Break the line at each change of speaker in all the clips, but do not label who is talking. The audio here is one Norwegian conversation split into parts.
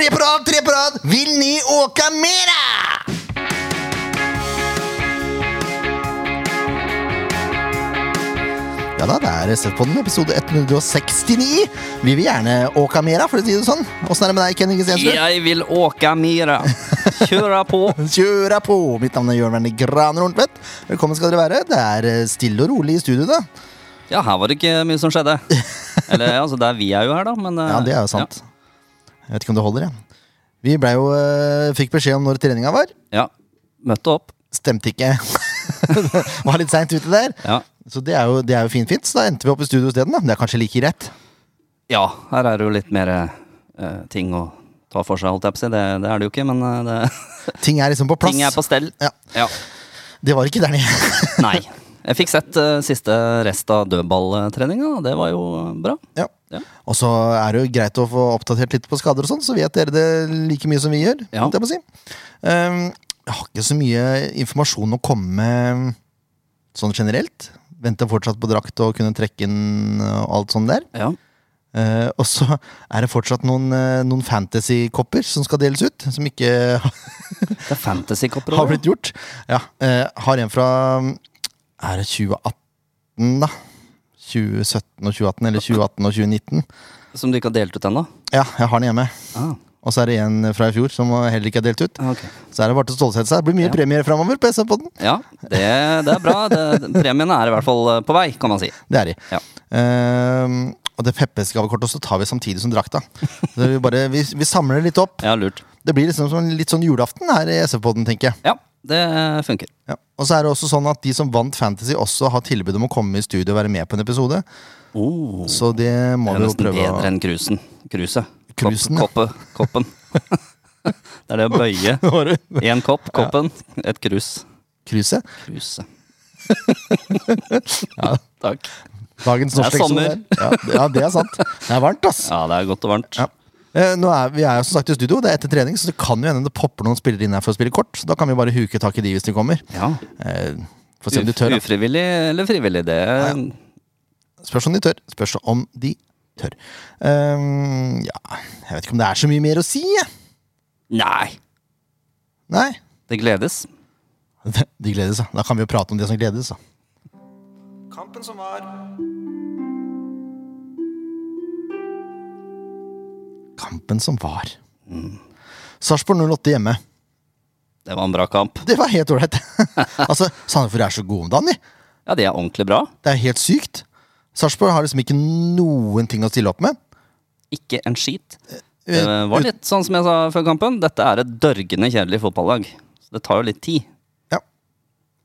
rad, tre på rad. Vill ni åka mera? Ja da, det er SF-podden, episode 169. Vi vil gjerne åka mera, for å si det sånn. Åssen er det med deg, Kenny Kristiansen?
Jeg vil åka mera. Kjøre på.
Kjøra på! Mitt navn er Jørn Werner Graner Horntvedt. Velkommen skal dere være. Det er eh, stille og rolig i studio, da.
Ja, her var det ikke mye som skjedde. Eller altså, der vi er jo her, da, men eh,
Ja, det er jo sant. Jeg vet ikke om det holder, jeg. Vi ble jo, eh, fikk beskjed om når treninga var.
Ja. ja. Møtte opp.
Stemte ikke. var litt seint ute der.
Ja.
Så det er jo, det er jo fint, fint. Så da endte vi opp i studio isteden, da. Det er kanskje like greit.
ja, her er det jo litt mer eh, ting å ta for seg, holdt jeg på å si. Det, det er det jo ikke, men eh, det,
Ting er liksom på plass.
ting er på stell.
Ja.
Ja.
Det var ikke der nede.
Nei. Jeg fikk sett eh, siste rest av dødballtreninga, og det var jo bra.
ja.
Ja.
Og så er det jo greit å få oppdatert litt på skader og sånn, så vet dere det like mye som vi gjør.
Ja.
holdt Jeg, på å si. um, jeg har ikke så mye informasjon å komme med sånn generelt. Venter fortsatt på drakt og kunne trekke inn og alt sånt der.
Ja.
Eh, og så er det fortsatt noen, eh, noen fantasy-kopper som skal deles ut, som ikke
Det er fantasy-kopper.
har
også.
blitt gjort. Ja, eh, har en fra mm, Er det 2018, da? 2017 og 2018, eller 2018 og 2019.
Som du ikke har delt ut ennå?
Ja, jeg har den hjemme.
Ah,
Og så er det en fra i fjor som heller ikke er delt ut.
ok.
Så er det bare til å stålsette seg. Det blir mye
Ja.
premier framover på SV-podden.
Ja, det, det er bra. Det, premiene er i hvert fall eh, på vei, kan man si.
Det er de.
Ja.
Ehm, og det Peppes-gavekortet også tar vi samtidig som drakta. Så vi, bare, vi, vi samler det litt opp.
Ja, lurt.
Det blir liksom som en litt sånn julaften her i SV-podden, tenker jeg.
Ja, det eh, funker.
Ja. Og så er det også sånn at de som vant Fantasy, også har tilbud om å komme i studio og være med på en episode.
Oh,
Så det må
det er
vi jo
nesten
prøve
bedre
å
enn krusen. Kruset.
Krusen, ja.
Kopp, koppe, koppen. det er det å bøye. Én kopp, koppen. Et krus.
Kruse.
Kruse. Takk.
Dagens
Det er
norskleksjon.
sommer.
der. Ja, det- ja, det er sant. Det er varmt, ass.
Ja, det er godt og varmt.
Ja. Eh, Nå er, vi er jo som sagt i studio, det er etter trening, så det kan jo hende det popper noen spillere inn her for å spille kort. Så da kan vi bare huke tak i de hvis de kommer.
Ja.
Eh, Får se om de
Uf
tør. da.
ufrivillig eller frivillig, det
Spørs om de tør. Spørs om de tør. Ehm, ja, jeg vet ikke om det er så mye mer å si, jeg.
Nei.
Nei.
Det gledes.
De gledes, da. Da kan vi jo prate om det som gledes, da.
Kampen som var.
Kampen som var. Sarpsborg 08 hjemme.
Det var en bra kamp.
Det var helt ålreit. altså, Sandefjord er så gode om dagen, de.
Ja, de er ordentlig bra.
Det er helt sykt. Sarpsborg har liksom ikke noen ting å stille opp med.
Ikke en skit. Det
Eh,
var litt sånn som jeg sa før kampen. Dette er et dørgende kjedelig fotballag. Så det tar jo litt tid.
Ja.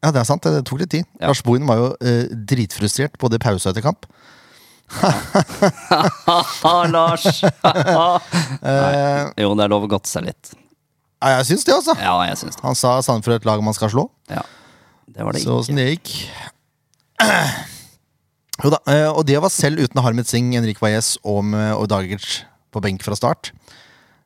ja, det er sant. Det tok litt tid.
Ja.
Lars Bohin var jo eh, dritfrustrert både i pause og etter kamp.
Ha-ha, Lars!
Eh,
Nei. Jo, det er lov å godte seg litt.
Ja, jeg syns det, altså.
Ja, jeg syns det.
Han sa Sandefjord er et lag man skal slå.
Ja. Det var det
Så
ikke.
åssen det gikk Jo da, eh, og det var selv uten Harmet Singh, Henrik Wajez og, med- og Dagic på benk fra start.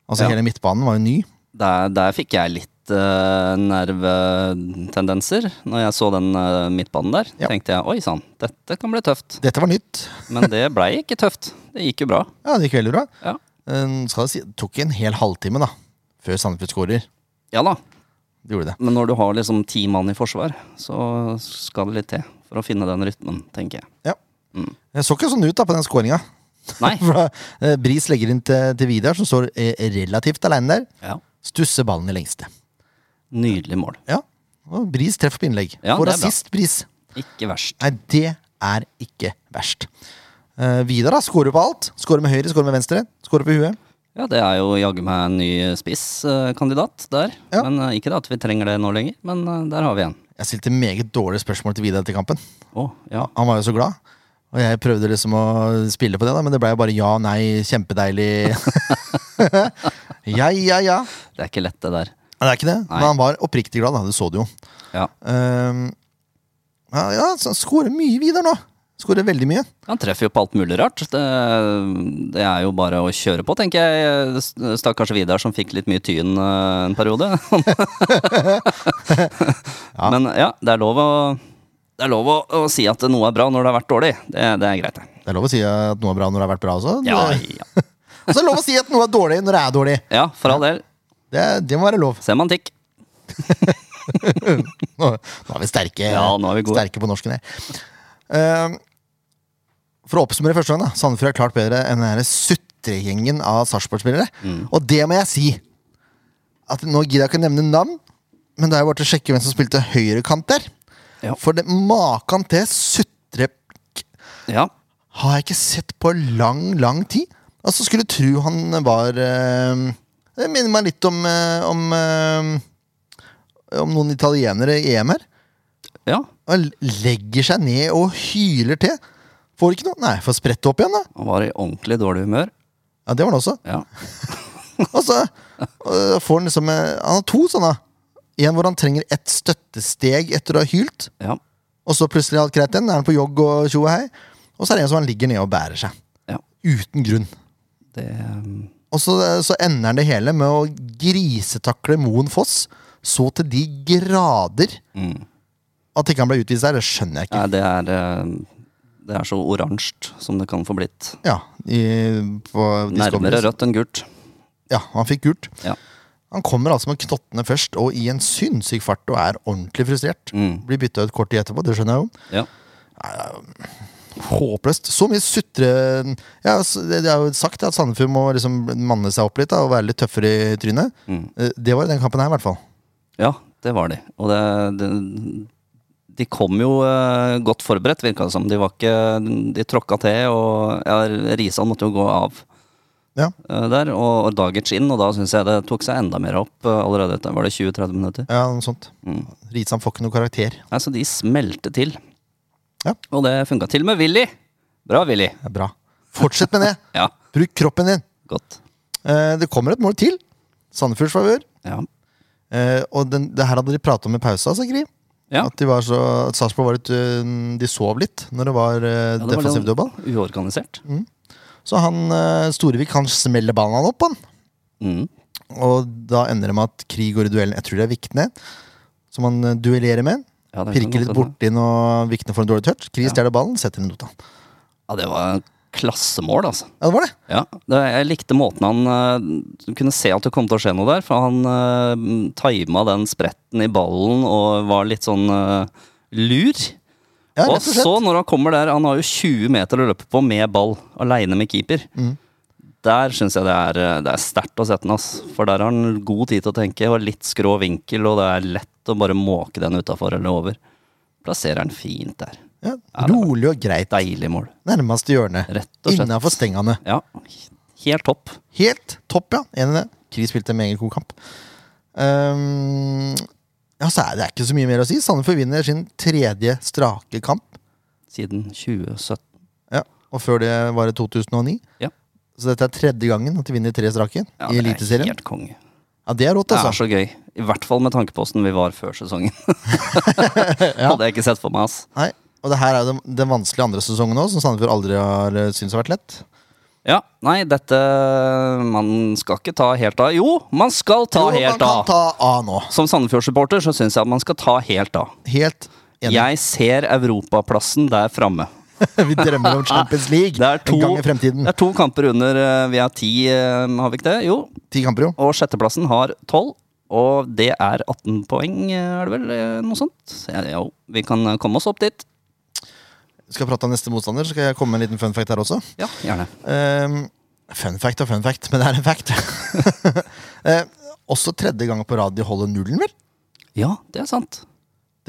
Altså
Ja.
Hele midtbanen var jo ny.
Der, der fikk jeg litt eh, nervetendenser når jeg så den eh, midtbanen der.
Ja.
Tenkte jeg oi sann, dette kan bli tøft.
Dette var nytt.
Men det blei ikke tøft. Det gikk jo bra.
Ja, Det gikk veldig bra.
Ja,
Eh, Skal det si, det tok en hel halvtime da før Sandefjord skårer.
ja da.
Det gjorde det.
Men når du har liksom ti mann i forsvar, så skal det litt til for å finne den rytmen, tenker jeg.
Ja.
Mm.
Det så ikke sånn ut da på den skåringa.
Nei.
eh, Bris legger inn til, til Vidar, som står eh, relativt aleine der.
Ja.
Stusser ballen i lengste.
Nydelig mål.
Ja, og Bris treffer på innlegg.
Ja,
Får
det er bra.
assist, Bris.
Ikke verst.
Nei, det er ikke verst. Eh, Vidar da, skårer på alt. Skårer med høyre, skårer med venstre. Skårer på huet.
Ja, det er jo jaggu meg en ny eh, spisskandidat der.
Ja.
Men eh, ikke det at vi trenger det nå lenger, men eh, der har vi en.
Jeg stilte meget dårlige spørsmål til Vidar etter kampen.
Å, ja.
Han var jo så glad. Og jeg prøvde liksom å spille på det, da, men det ble jo bare ja, nei, kjempedeilig. ja, ja, ja.
Det er ikke lett, det der.
Nei, Det er ikke det, men han var oppriktig glad, da. Det så du jo.
Ja.
Eh, ja, ja, så han skårer mye Vidar nå. Skårer veldig mye.
Han treffer jo på alt mulig rart. Det, det er jo bare å kjøre på, tenker jeg. S- Stakkars Vidar som fikk litt mye tyn eh, en periode. Men ja, det er lov å det er lov å, å si at noe er bra når det har vært dårlig. Det, det er greit, det.
Det er lov å si at noe er bra når det har vært bra også.
Ja,
Det-
ja.
Og så er det lov å si at noe er dårlig når det er dårlig.
Ja, for all del.
Det, det må være lov.
Semantikk.
Nå, nå er vi sterke,
Ja, nå er vi gode.
sterke på norsken her. Ehm, for å oppsummere første gang, da. Sandefjord er klart bedre enn denne sutregjengen av Sarpsborg-spillere.
Mm.
Og det må jeg si. At nå gidder jeg ikke nevne navn, men det er jo bare til å sjekke hvem som spilte høyrekant der.
Ja.
For det, maken til sutrepikk
Ja.
har jeg ikke sett på lang, lang tid. Altså, skulle tro han var eh, Det minner meg litt om eh, om, eh, om noen italienere i EM her.
ja.
Han legger seg ned og hyler til. Får ikke noe? Nei, får sprette opp igjen, da.
Han var i ordentlig dårlig humør.
Ja, det var han også.
Ja.
Og så øh, får han liksom eh, Han har to sånne. En hvor han trenger ett støttesteg etter å ha hylt.
Ja.
Og så plutselig er alt greit igjen. Er han på jogg og tjo og hei. Og så er det en som han ligger ned og bærer seg.
Ja.
Uten grunn.
Det um,
Og så, øh, så ender han det hele med å grisetakle Moen Foss så til de grader at ikke han ble utvist der. Det skjønner jeg ikke.
Nei, det er um, Det er så oransje som det kan få blitt.
Ja, i, på
Nærmere
Discovery.
rødt enn gult.
Ja, han fikk gult.
Ja.
Han kommer altså med knottene først og i en sinnssyk fart og er ordentlig frustrert. Blir bytta ut kort tid etterpå, det skjønner jeg jo.
Ja.
Håpløst. Så mye sutre ja, s- Det det er jo sagt at Sandefjord må liksom manne seg opp litt da, og være litt tøffere i trynet. Eh, Det var i den kampen her, i hvert fall.
Ja, det var de. Og det, det, de kom jo eh, godt forberedt, virka det som. De var ikke De tråkka til, og ja, Risan måtte jo gå av
Ja.
eh, der. Og, og Dagic inn, og da syns jeg det tok seg enda mer opp eh, allerede. etter- Var det 20-30 minutter?
ja, noe sånt. Risan får ikke noe karakter.
Nei, så de smelte til.
Ja.
Og det funka til og med Willy. Bra, Willy.
Det er bra. Fortsett med det!
Ja,
Bruk kroppen din!
godt.
Eh, Det kommer et mål til. Sandefjords favør.
Ja.
Eh, Og den, det her hadde de prata om i pausa, sa Grim.
Ja.
At de var så, at Sarpsborg var litt øh, De sov litt når det var øh,
Ja, det var litt
defensiv dødball. Mm.
Uorganisert.
Så han øh, Storevik han smeller ballen han opp, han.
Mm.
Og da ender det med at Krig går i duellen. Jeg tror det er Vikne som han øh, duellerer med.
Ja, det kan
Pirker
godt
litt
hende.
borti den, og Vikne får en dårlig touch. Krig
Ja.
stjeler ballen, setter den ut av han.
Ja, det var klassemål, altså.
Ja, det var det.
Ja, det, jeg likte måten han eh, Du kunne se at det kom til å skje noe der, for han uh, tima den spretten i ballen og var litt sånn eh, lur.
Ja,
og
rett og slett.
så, når han kommer der Han har jo 20 meter å løpe på med ball, aleine med keeper.
Mm.
Der syns jeg det er, eh, det er sterkt å sette den, ass. For der har han god tid til å tenke, og litt skrå vinkel, og det er lett å bare måke den utafor eller over. Plasserer den fint der.
Ja, rolig og greit.
Deilig mål.
Nærmeste hjørne.
Rett og slett.
Innafor stengene.
Ja, helt topp.
Helt topp, ja. Enig i det. Kri spilte en meget god kamp. Ehm, ja, så er det ikke så mye mer å si. Sandefjord vinner sin tredje strake kamp.
Siden 2017.
Ja, Og før det var det 2009.
Ja.
Så dette er tredje gangen at de vinner tre strake
Ja,
i
det er
Eliteserien.
Helt konge.
Ja, det er rått,
Det
altså.
er så gøy. I hvert fall med tanke på åssen vi var før sesongen. Hadde jeg ikke sett for meg, ass.
Nei, og det her er jo den, den vanskelige andre sesongen òg, som Sandefjord aldri har eh, syntes har vært lett.
Ja, nei, dette eh, Man skal ikke ta helt av. Jo, man skal ta
Jo, man
helt
kan
av!
ta A nå.
Som Sandefjord-supporter så syns jeg at man skal ta helt av.
Helt enig.
Jeg ser europaplassen der framme.
Vi drømmer om Champions League
Det er to,
en gang i fremtiden.
det er to kamper under eh, vi har ti, eh, har vi ikke det? Jo.
Ti kamper, jo.
Og sjetteplassen har tolv. Og det er 18 poeng, eh, er det vel? eh, Noe sånt. Så, ja, jo, vi kan eh, komme oss opp dit.
Skal prate om neste motstander, skal jeg komme med en liten fun fact her også.
Ja, gjerne.
Ehm, fun fact og fun fact, men det er en fact. Ehm, også tredje gang på rad de holder nullen, vel?
Ja, det er sant.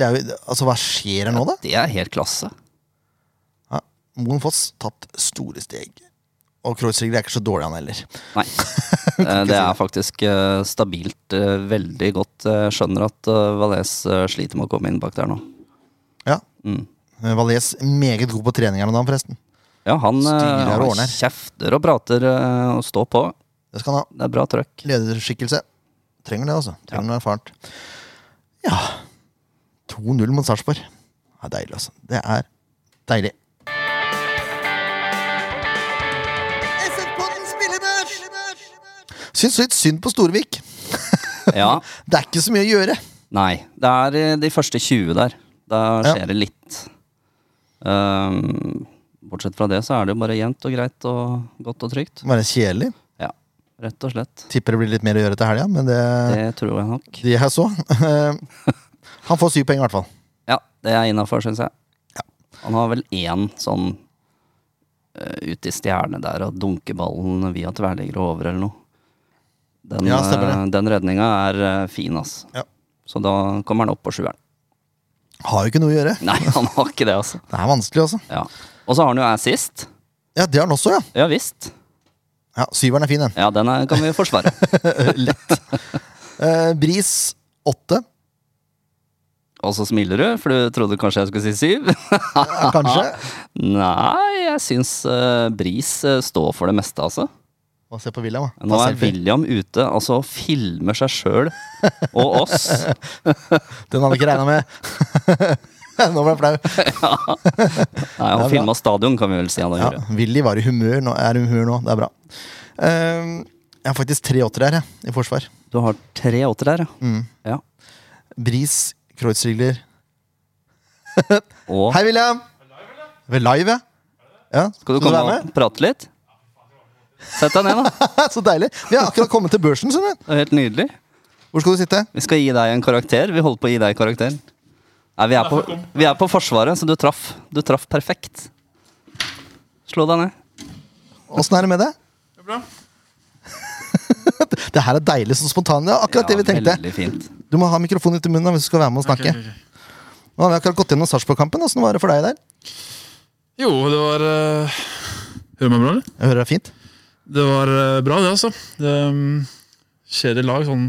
Det er jo, altså, hva skjer her nå, da?
Det er helt klasse.
Ja, Moen Foss tatt store steg. Og Kreuzriger er ikke så dårlig, han heller.
Nei. Eh, Det er faktisk eh, stabilt eh, veldig godt. Eh, Skjønner at eh, Valais eh, sliter med å komme inn bak der nå.
Ja. Eh, Valais meget god på trening her om dagen, forresten.
Ja, han, eh,
Styrer og
han
ordner.
kjefter og prater eh, og står på.
Det skal han ha.
Det er bra trøkk.
Lederskikkelse. Trenger det, altså. Trenger noe erfart. Ja 2-0 mot Sarpsborg. Det er deilig, altså. Det er deilig. Syns litt synd på Storvik.
Ja.
Det er ikke så mye å gjøre.
Nei. Det er eh, de første 20 der. Da
Ja.
skjer det litt. Eh, Um, bortsett fra det så er det jo bare jevnt og greit og godt og trygt.
Være kjedelig.
rett og slett.
Tipper det blir litt mer å gjøre til helga, men det,
Det tror jeg nok.
de jeg så Han får syv poeng, i hvert fall.
Ja, det er innafor, syns jeg. Han har vel én sånn eh, ut i stjerne der og dunker ballen via tverrligger og over eller noe. Den,
Ja, stemmer
eh, den redninga er eh, fin, ass.
Ja.
Så da kommer han opp på sjueren.
Har jo ikke noe å gjøre.
Nei, han har ikke det, altså.
Det er vanskelig, altså.
Ja. Og så har han jo assist.
Ja, det har han også, ja.
Ja visst.
ja syveren er fin, den.
Ja, den er, kan vi forsvare.
Eh, Bris åtte,
Og så smiler du, for du trodde kanskje jeg skulle si syv.
ja, kanskje.
Nei, jeg syns eh, Bris eh, står for det meste, altså.
Og se på William, da.
Nå
Ta
er
selfie.
William ute, altså filmer seg sjøl og oss.
Den hadde jeg ikke regna med. Nå ble jeg flau.
Nei, han filma stadion, kan vi vel si han har
Ja,
gjort.
Willy var i humør nå. Er i humør nå. Det er bra. Eh, jeg har faktisk tre åttere her, jeg, i forsvar.
Du har tre åtter der, ja.
Mm.
ja.
Bris, Kreuzrigler
Og
Hei, William! Vi er live, ja. ja.
skal du komme og prate litt? Sett deg ned, da.
Så deilig. Vi har akkurat kommet til børsen. skjønner du.
Det er helt nydelig.
Hvor skal du sitte?
Vi skal gi deg en karakter. Vi holder på å gi deg karakteren. Nei, vi er på, vi er på Forsvaret, så du traff. Du traff perfekt. Slå deg ned.
Åssen er det med det?
Det er bra.
Det her er deilig som spontan. Det er akkurat det vi tenkte.
Veldig fint.
Du må ha mikrofonen ut i munnen da, hvis du skal være med og snakke.
Ok, ok, ok.
Nå har vi akkurat gått gjennom Sarpsborg-kampen. Åssen var det for deg der?
Jo, det var eh, Hører du meg bra, eller?
Jeg hører det er fint.
Det var eh, bra, det, altså. Det um, skjer i lag, sånn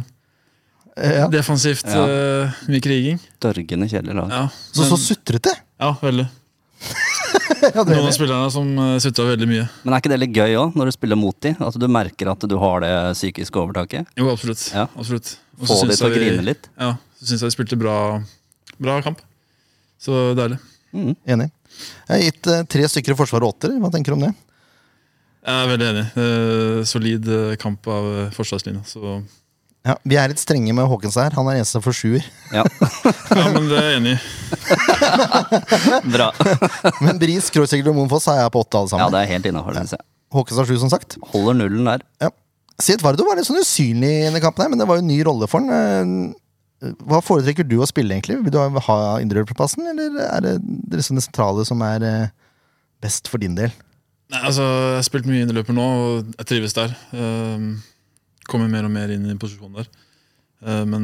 Eh, Ja.
defensivt.
Ja.
eh, mye kriging.
Dørgende kjedelig lag.
Ja,
Så, så
men-
sutrete!
ja veldig.
Ja, det
Noen av
er det.
spillerne som uh, sutta veldig mye.
Men er ikke det litt gøy òg, når du spiller mot de? At du merker at du har det psykiske overtaket?
Jo, absolutt.
Ja.
absolutt. Og
Få
så
de
syns
til å
jeg vi-
grine litt?
Ja, så syns jeg vi spilte bra, bra kamp. Så deilig.
Enig. Jeg har gitt eh, tre stykker i Forsvaret åtter. Hva tenker du om det?
Jeg er veldig enig. Eh, solid eh, kamp av eh, forsvarslinja. Så
Ja, Vi er litt strenge med Håkens her. Han er eneste for sjuer.
Ja,
Ja, men det er jeg enig i.
bra.
Men Bris, Kreuzrigler og Monfoss er jeg på åtte alle
Ja,
sammen.
det er helt innafor, syns jeg.
Håkens har sju, som sagt.
Holder nullen der.
Ja. Siet Vardo var litt sånn usynlig i denne kampen, her, men det var jo en ny rolle for han. Eh, Hva foretrekker du å spille, egentlig? Vil du ha- ha indreløperplassen, eller er det det, er liksom det sentrale som er eh, best for din del?
Nei, altså, Jeg har spilt mye innerløper nå, og jeg trives der. Ehm, kommer mer og mer inn i posisjonen der. Ehm, men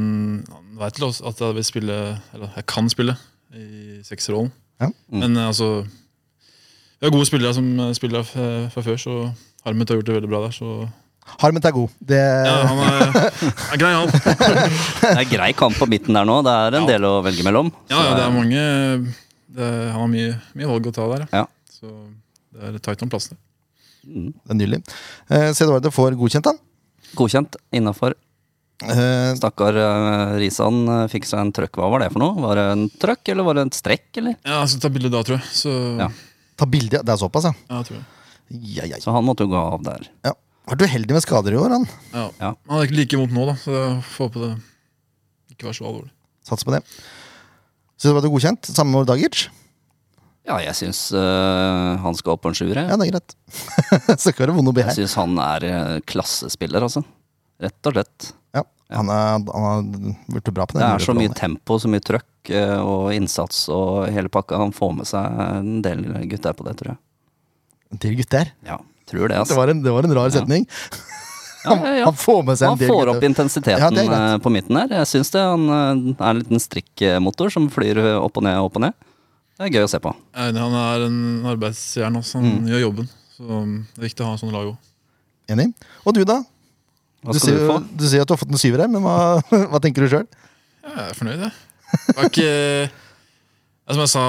han vet til oss at jeg vil spille Eller jeg kan spille i sekserrollen.
Ja.
Men eh, altså Vi har gode spillere som eh, spiller fra, fra før, så Harmet har gjort det veldig bra der. Så
Harmet er god. Det,
ja, han er, er grei, han.
Det er grei kamp på midten der nå. Det er en
Ja.
del å velge mellom.
Ja, ja, det er mange det, Han har mye, mye valg å ta der.
Ja.
Så det er tight om plassen.
mm.
det er nydelig. Eh, Siet Vardo får godkjent, han.
Godkjent innafor.
Eh,
Stakkar eh, Risan eh, fikk seg en trøkk. Hva var det for noe? Var det en trøkk, eller var det en strekk, eller?
Ja, jeg skal ta bilde da, tror jeg. Så
Ja.
ja,
ta bilde ja. Det er såpass, ja.
jeg tror jeg.
ja, ja, ja.
Så han måtte jo gå av der.
ja. Vært uheldig med skader i år, han.
Ja.
Ja.
Han er ikke like vondt nå, da, så jeg får håpe det ikke var så alvorlig.
Satser på det. Siet Vardo godkjent. Samme med Dagic.
Ja, jeg syns han skal opp på en sjuer. jeg.
Ja, det er greit. Så ikke være vond å be
Jeg
her.
syns han er eh, klassespiller, altså. Rett og slett.
Ja, han er- han har blitt bra på den.
Det er så mye
indreløperrollen.
tempo, så mye trøkk eh, og innsats og hele pakka. Han får med seg en del gutter på det, tror jeg.
Til gutter.
Ja, tror det,
Det
altså.
var en, det var en rar setning.
Ja, ja, ja.
Han får med seg en
Han
del
får opp
gutter. Ja,
intensiteten
det er greit.
eh, på midten der. Jeg syns det. Han eh, er en liten strikkmotor som flyr eh, opp og ned og opp og ned. Det er gøy å se på.
Jeg er enig, Han er en arbeidsjern også, han gjør jobben. Så det er viktig å ha en sånn lag òg.
Enig. Og du, da?
Hva
Du
skal
sier, jo-
du, få?
du sier at du har fått en syver her, men hva, hva tenker du sjøl?
Jeg er fornøyd, jeg. Det er ikke ja, Som jeg sa,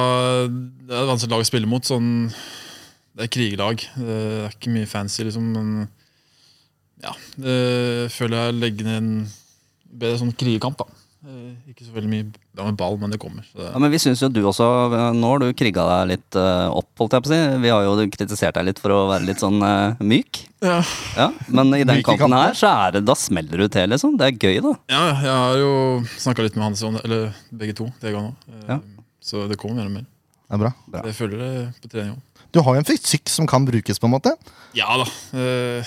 det er et vanskelig lag å spille mot. Sånn, det er krigelag. Det er ikke mye fancy, liksom, men ja. Det føler jeg legger ned en bedre sånn krigekamp, da. Eh, Ikke så veldig mye bra med ball, men det kommer. Så det,
Ja, men vi syns jo du også eh, Nå har du kriga deg litt eh, opp, holdt jeg på å si. Vi har jo kritisert deg litt for å være litt sånn eh, myk.
ja.
Ja, men i
Myk
den
i
kampen
kampen.
her, så er det Da smeller du til, liksom. Det er gøy, da.
Ja, ja, jeg har jo snakka litt med Hans om det, eller begge to. Det ga nå. Eh,
Ja.
Så det kommer mer og mer.
Det er bra.
Ja.
Jeg føler det på trening òg.
Du har jo en fysikk som kan brukes, på en måte.
Ja da. eh,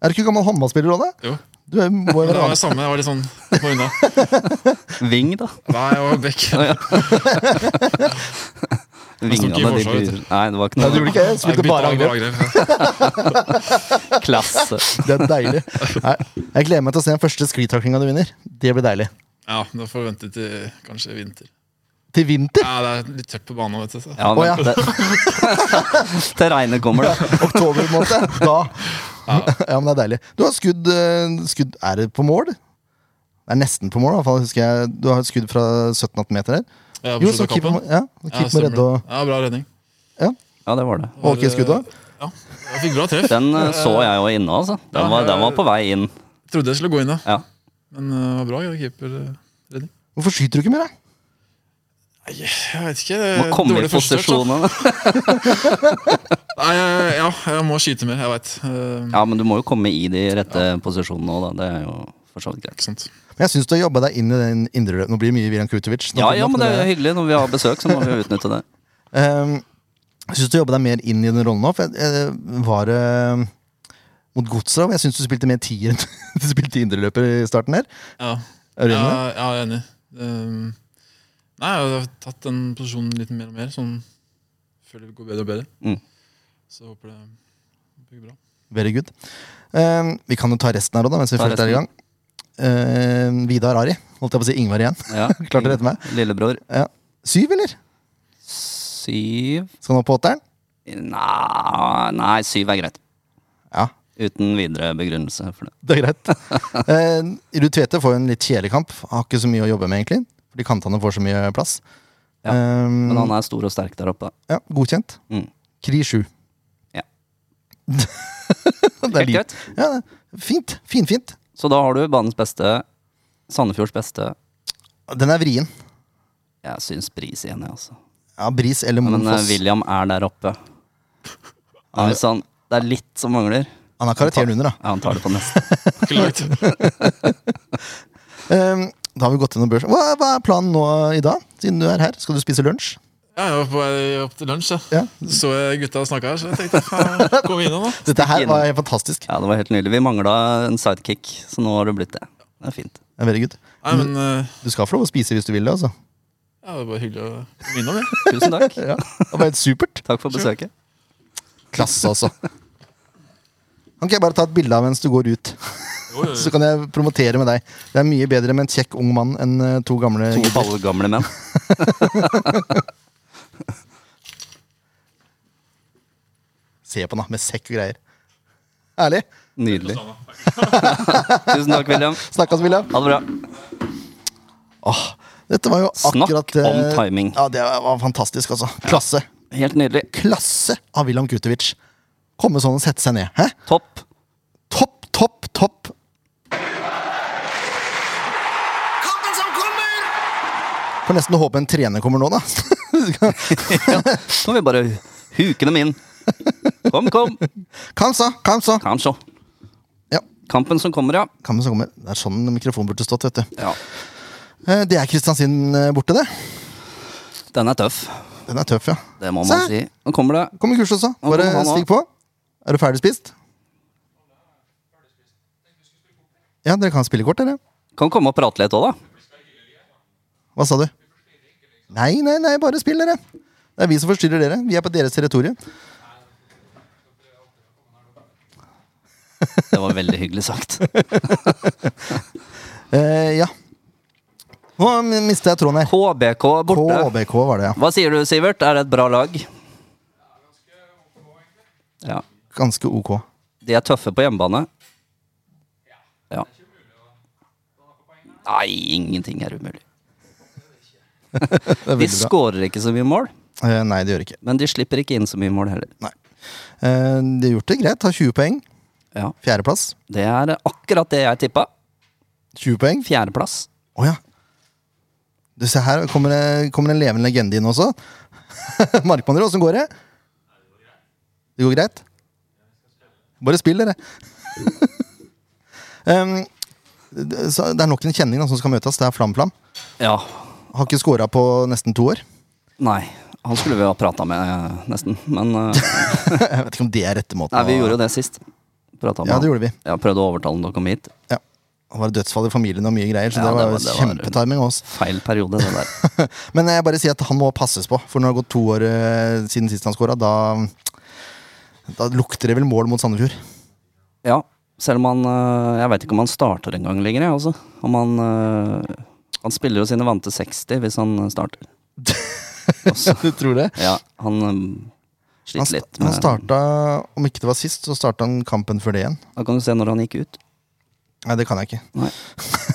Er du ikke gammel håndballspiller, Råde?
Jo.
Du er, må jo
Men det
være
var det samme. Jeg var litt sånn på unna.
Ving, da.
Nei, jeg var back. sto ikke i
Vingene, de
forsvar, vet
blir
du.
Nei, det var ikke
Nei, du blir
noe
ikke jeg
Jeg
spilte bare angrep.
angrep.
klasse.
Det er deilig. Nei, jeg gleder meg til å se den første sklitaklinga du vinner. Det blir deilig.
Ja, da får vi vente til kanskje vinter.
Til vinter!
Ja, det er litt tørt på banen, vet du. Så.
Ja,
Å, ja.
men det, til regnet kommer, da.
Oktober måned. Da. Ja, men det er deilig. Du har skudd, eh, skudd Er det på mål? Det er nesten på mål. i hvert fall, husker jeg. Du har et skudd fra 17-18 meter her.
Ja, på
Jo,
slutten
så
av
keeper
kampen.
må, ja, så
Ja,
keeper må
stemmer det.
redde og
ja, bra redning.
Ja, det var det.
og ok skudd òg.
Ja, jeg fikk bra treff.
Den eh, så jeg jo inne, altså. Den var, den var på vei inn.
Trodde jeg skulle gå inn, da.
Ja.
Men eh, det var bra keeperredning.
Hvorfor skyter du ikke mer, da?
Jeg vet ikke.
Eh,
Må komme i
Dårlig
altså.
førsteøkt, da.
posisjonene.
Nei, jeg- ja, jeg må skyte mer. Jeg Eh, veit.
Ja, men du må jo komme i de rette posisjonene òg, da. Det er jo for så vidt greit.
Ikke sant.
Men jeg syns du har jobba deg inn i den indre løp. Nå blir det mye Viran Krutovic.
Ja, ja, men det er jo hyggelig. Når vi har besøk, så må vi jo utnytte det.
Ehm, Jeg syns du jobba deg mer inn i den rollen nå. For jeg, jeg var eh, mot Godset, og jeg syns du spilte mer tier enn du spilte indreløper i starten her.
Ja,
Er du
ja,
enig? i det?
ja jeg er enig. Ehm, nei, jeg har tatt den posisjonen litt mer og mer. Sånn føler det går bedre og bedre.
Mm.
Så jeg håper det håper det går bra.
Very good. Ehm, vi kan jo ta resten her òg, mens vi
Ta
først er i
resten.
gang. Ehm, Vidar Ari. Holdt jeg på å si Ingvar igjen.
Ja.
Klarte å rette meg.
Lillebror.
Ja. Syv, eller?
Syv
Skal han opp på åtteren?
Nei, nei, syv er greit.
Ja,
Uten videre begrunnelse for det.
det er greit. Ehm, Ruud Tvete får jo en litt kjedelig kamp. Har ikke så mye å jobbe med, egentlig. Fordi kantene får så mye plass.
Ja,
Ehm,
Men han er stor og sterk der oppe.
ja,
da.
godkjent.
Mm.
Kri 7.
Ja.
det er
Helt
litt
greit.
ja, det er fint. Finfint.
Så da har du banens beste, Sandefjords beste.
Den er vrien.
Jeg syns Bris igjen, jeg, altså.
Ja, Bris eller
Men eh,
Monfoss.
William er der oppe. Ja, Hvis han, det er litt som mangler.
Han har karakteren under, da.
Ja, han tar det på neste.
Ikke langt.
Ehm, da har vi gått gjennom børs. Hva, hva er planen nå i dag? Siden du er her, skal du spise lunsj?
Ja, jeg var på vei opp til lunsj.
Ja.
Ja. Så jeg gutta snakka her, så jeg tenkte faen, kom innom, da.
Dette her
innom.
var helt fantastisk.
Ja, det var helt nydelig. Vi mangla en sidekick, så nå har det blitt det. Det er fint.
Det er Very good.
Nei, men eh,
Du skal få lov å spise hvis du vil det. altså
ja, det var bare hyggelig å komme innom. Ja.
Tusen takk.
ja. Det var helt supert.
Takk for besøket.
Klasse, altså. Kan ikke jeg bare ta et bilde av mens du går ut?
Jo, jo,
Så
jo.
kan jeg promotere med deg. Det er mye bedre med en kjekk ung mann enn eh, to gamle
To
gubber.
ballgamle menn.
Se på den, da, med sekk og greier. Ærlig.
Nydelig. Tusen takk, William.
Snakkes, William.
Ha det bra.
Åh, dette var jo
Snakk
akkurat
om
eh,
timing.
Ja, Det var fantastisk, altså. Klasse.
Helt nydelig.
Klasse av William Kutovic. Komme sånn og sette seg ned. Hæ?
Topp.
Topp, topp, topp.
Kampen som kommer!
Får nesten håpe en trener kommer nå, da.
Nå må vi bare huke dem inn. Kom, kom.
Kom så, kom så.
Kan sjå.
Ja.
Kampen som kommer, ja.
Kom så kommer. Det er sånn mikrofonen burde stått, vet du.
ja.
Eh, Det er Kristiansund eh, borte, det.
Den er tøff.
Den er tøff, ja.
Det må
Se.
man si. Nå kommer det.
Kom i kurs også.
Nå
Bare
kommer han nå.
stig på. Er du ferdig spist? Ja, dere kan spille kort, dere.
Kan komme og prate litt òg, da.
Hva sa du? Nei, nei, nei, bare spill, dere. Det er vi som forstyrrer dere. Vi er på deres territorium.
Det var veldig hyggelig sagt.
Eh, ja. Nå mista jeg tråden her.
HBK borte.
KBK var det, ja.
Hva sier du, Sivert? Er det et bra lag? Ja.
Ganske ok.
De er tøffe på hjemmebane. Ja. Nei, ingenting er umulig.
Det er
De
veldig bra.
skårer ikke så mye mål,
Eh, nei, det gjør det ikke.
men de slipper ikke inn så mye mål heller.
Nei. Eh, de har gjort det greit. Har 20 poeng.
Ja,
Fjerdeplass.
Det er akkurat det jeg tippa.
20 poeng.
Fjerdeplass.
Å ja. Du, se her kommer det, kommer det en levende legende inn også. Markmanner, åssen går det? Det går greit? Bare spill, dere. um, det så det er nok en kjenning da, som skal møtes. Det er Flam-Flam.
Ja.
Har ikke scora på nesten to år.
Nei. Han skulle vi ha prata med, eh, nesten. Men eh,
Jeg vet ikke om det er rette måten.
nei, vi
å-
gjorde jo det sist. Pratet med
Ja,
han.
det gjorde vi.
Jeg prøvde å overtale han til å komme hit.
Ja. Det var dødsfall i familien og mye greier, så
Ja,
det
det
var, jo
var- det var-
kjempetiming av oss.
Feil periode, det der.
Men jeg bare sier at han må passes på, for når det har gått to år eh, siden sist han skåra, da, da lukter det vel mål mot Sandefjord.
Ja, selv om han øh, Jeg veit ikke om han starter engang lenger, jeg, altså. Om han øh, Han spiller jo sine vante 60 hvis han øh, starter. Altså,
Du tror det?
ja, han øh,
Han,
sliter
sta-
litt
han
med
starta, om ikke det var sist, så starta han kampen før det igjen.
Da kan du se når han gikk ut.
Nei, det kan jeg ikke.
Nei.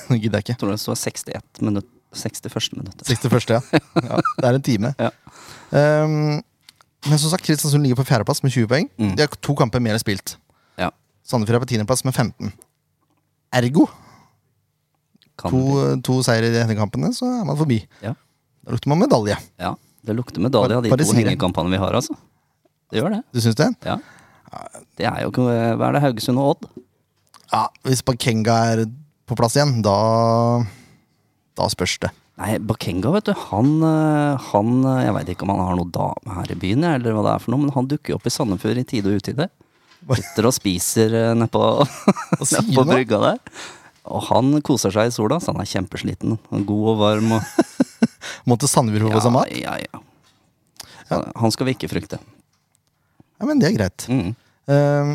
det gidder jeg ikke.
Jeg tror det står 61 minutt 61. minutt.
61., ja. ja. Det er en time.
Ja.
Ehm, men som sagt, Kristiansund ligger på fjerdeplass med 20 poeng.
Mm.
De har to kamper mer spilt.
Ja,
Sandefjord er på tiendeplass med 15. Ergo
kan
to, eh,
bli.
to seire i de ene kampene, så er man forbi.
Ja.
Da lukter man medalje.
ja, det lukter medalje av de
Bare- bare
to
sier det.
hengekampene vi har, altså. Det gjør det.
Du syns det?
Ja. Det er jo ikke Hva er det, Haugesund og Odd?
Ja, Hvis Bakenga er på plass igjen, da Da spørs det.
Nei, Bakenga, vet du, han, øh, han øh, Jeg veit ikke om han har noen dame her i byen, jeg, eller hva det er for noe, men han dukker jo opp i Sandefjord i tide og utide. Sitter og spiser øh, nedpå ned
sier
på
han da?
brygga der. Og han koser seg i sola, så han er kjempesliten. Han er God og varm og
Måtte Sandefjord få seg mat?
ja, ja. Så Han skal vi ikke frykte.
Ja, men det er greit.
Mm.
Ehm,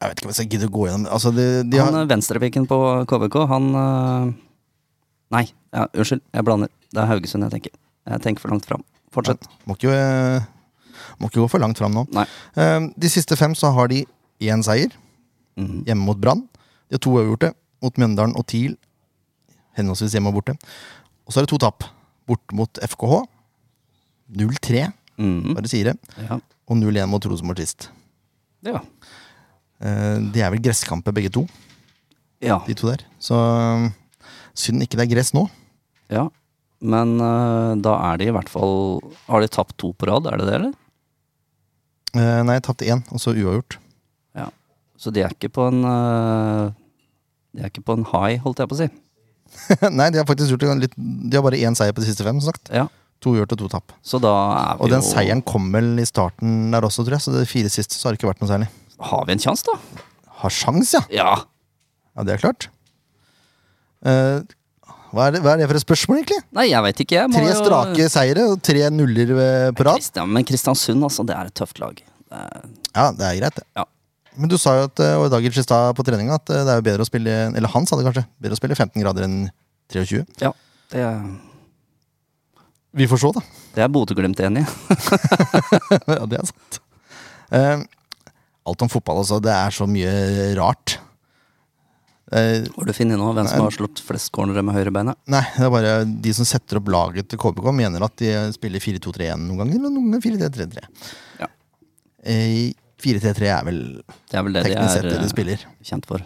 jeg vet ikke om jeg gidder å gå gjennom altså, de, de har,
Han eh, venstrepikken på KBK, han eh, Nei, ja, unnskyld, jeg blander. Det er Haugesund jeg tenker. Jeg tenker for langt fram. Fortsett.
må, ikke, eh, må ikke gå for langt fram nå.
Nei.
Ehm, de siste fem så har de én seier,
Mhm.
hjemme mot Brann. De har to uavgjorte, mot Mjøndalen og TIL. Henholdsvis hjemme og borte. Og så er det to tap, borte mot FKH. 0-3,
Mhm.
bare sier det.
Ja.
Og 0-1 mot Rosenborg sist.
ja.
Eh, De er vel gresskamper begge to,
Ja.
de to der. Så eh, synd ikke det er gress nå.
ja. Men eh, da er de i hvert fall Har de tapt to på rad, er det det, eller?
Eh, Nei, jeg tapte én, og så uavgjort.
Ja. Så de er ikke på en eh, De er ikke på en high, holdt jeg på å si.
Nei, de har faktisk gjort det litt De har bare én seier på de siste fem, som sagt.
Ja.
To uavgjort og to tap.
Så da er vi
Og den
jo
seieren kom vel i starten der også, tror jeg. Så de fire siste så har det ikke vært noe særlig.
Har vi en sjanse, da?
Har sjans, ja!
Ja.
Ja, det er klart. Eh, hva, er det, hva er det for et spørsmål, egentlig?
Nei, jeg veit ikke. Jeg må
Tre
jo-
strake seire og tre nuller eh, på rad.
Kristian, men Kristiansund, altså. Det er et tøft lag. Det er
Ja, det er greit, det.
Ja.
Men du sa jo at, eh, og Dagic i stad på treninga at eh, det er jo bedre å spille Eller han sa det kanskje. Bedre å spille 15 grader enn 23.
Ja, det,
Vi får se, da.
det er Bodø-Glimt enig i.
ja, det er sant. Eh, alt om fotball, altså. Det er så mye rart. Eh,
Har du funnet noe hvem som har slått flest cornere med høyrebeinet?
nei, det er bare de som setter opp laget til KBK, mener at de spiller 4-2-3-1 noen ganger, eller noen ganger 4-3-3-3.
Ja.
Eh, 4-3-3 er vel
Det er vel det de
teknisk sett
er
det de
eh,
spiller.
kjent for.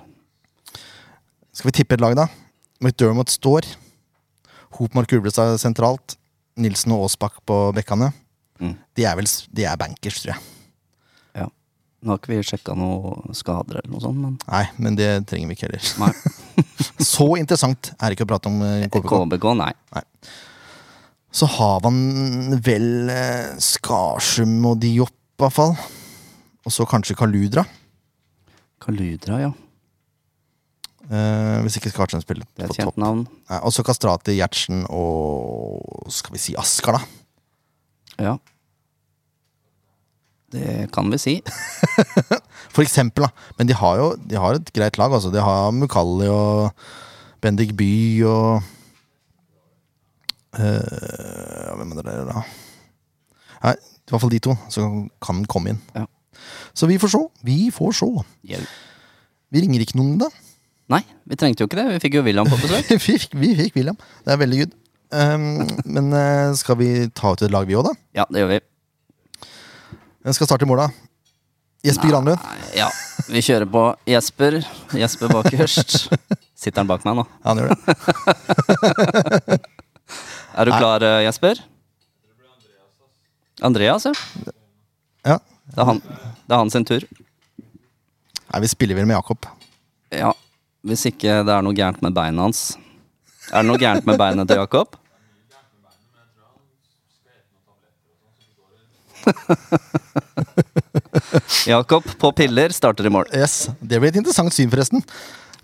Skal vi tippe et lag, da? McDermott står. Hopmark Ublestad sentralt. Nilsen og Aasbakk på bekkene.
Mm.
De er vel s- de er bankers, tror jeg.
Ja. Nå har ikke vi sjekka noen skader eller noe sånt, men
Nei, men det trenger vi ikke heller.
nei.
Så interessant er det ikke å prate om eh, KBK.
KBK, nei.
Så har man vel eh, Skarsum og Diop, i hvert fall. Og så kanskje Kaludra.
Kaludra, ja.
Eh, hvis ikke Skarsum spiller
Det
på
er et kjent
topp.
navn.
Nei, Og så Kastrati, Gjertsen og skal vi si Asker, da.
Ja. Det kan vi si.
For eksempel, da. Men de har jo de har et greit lag. Altså. De har Mukalli og Bendik By og eh, Hvem er det der, da? Nei, I hvert fall de to, så kan den komme inn.
Ja.
Så vi får se. Vi får se.
Hjelp.
Vi ringer ikke noen, da.
Nei, vi trengte jo ikke det. Vi fikk jo William på besøk.
Vi fikk, vi fikk William. Det er veldig good. Um, men eh, skal vi ta ut et lag, vi òg, da?
Ja, det gjør vi.
Hvem skal starte i mål, da? Jesper Granlund.
Nei, Ja, vi kjører på Jesper. Jesper bakerst. Sitter han bak meg nå?
Ja, han gjør det.
Er du klar, eh, Jesper? Andreas, ja.
Ja.
Det er han, det er han sin tur.
Nei, vi spiller vel med Jakob.
Ja, Hvis ikke det er noe gærent med beinet hans. Er det noe gærent med beinet til Jakob? Jakob på piller starter i mål.
Yes, Det blir et interessant syn, forresten.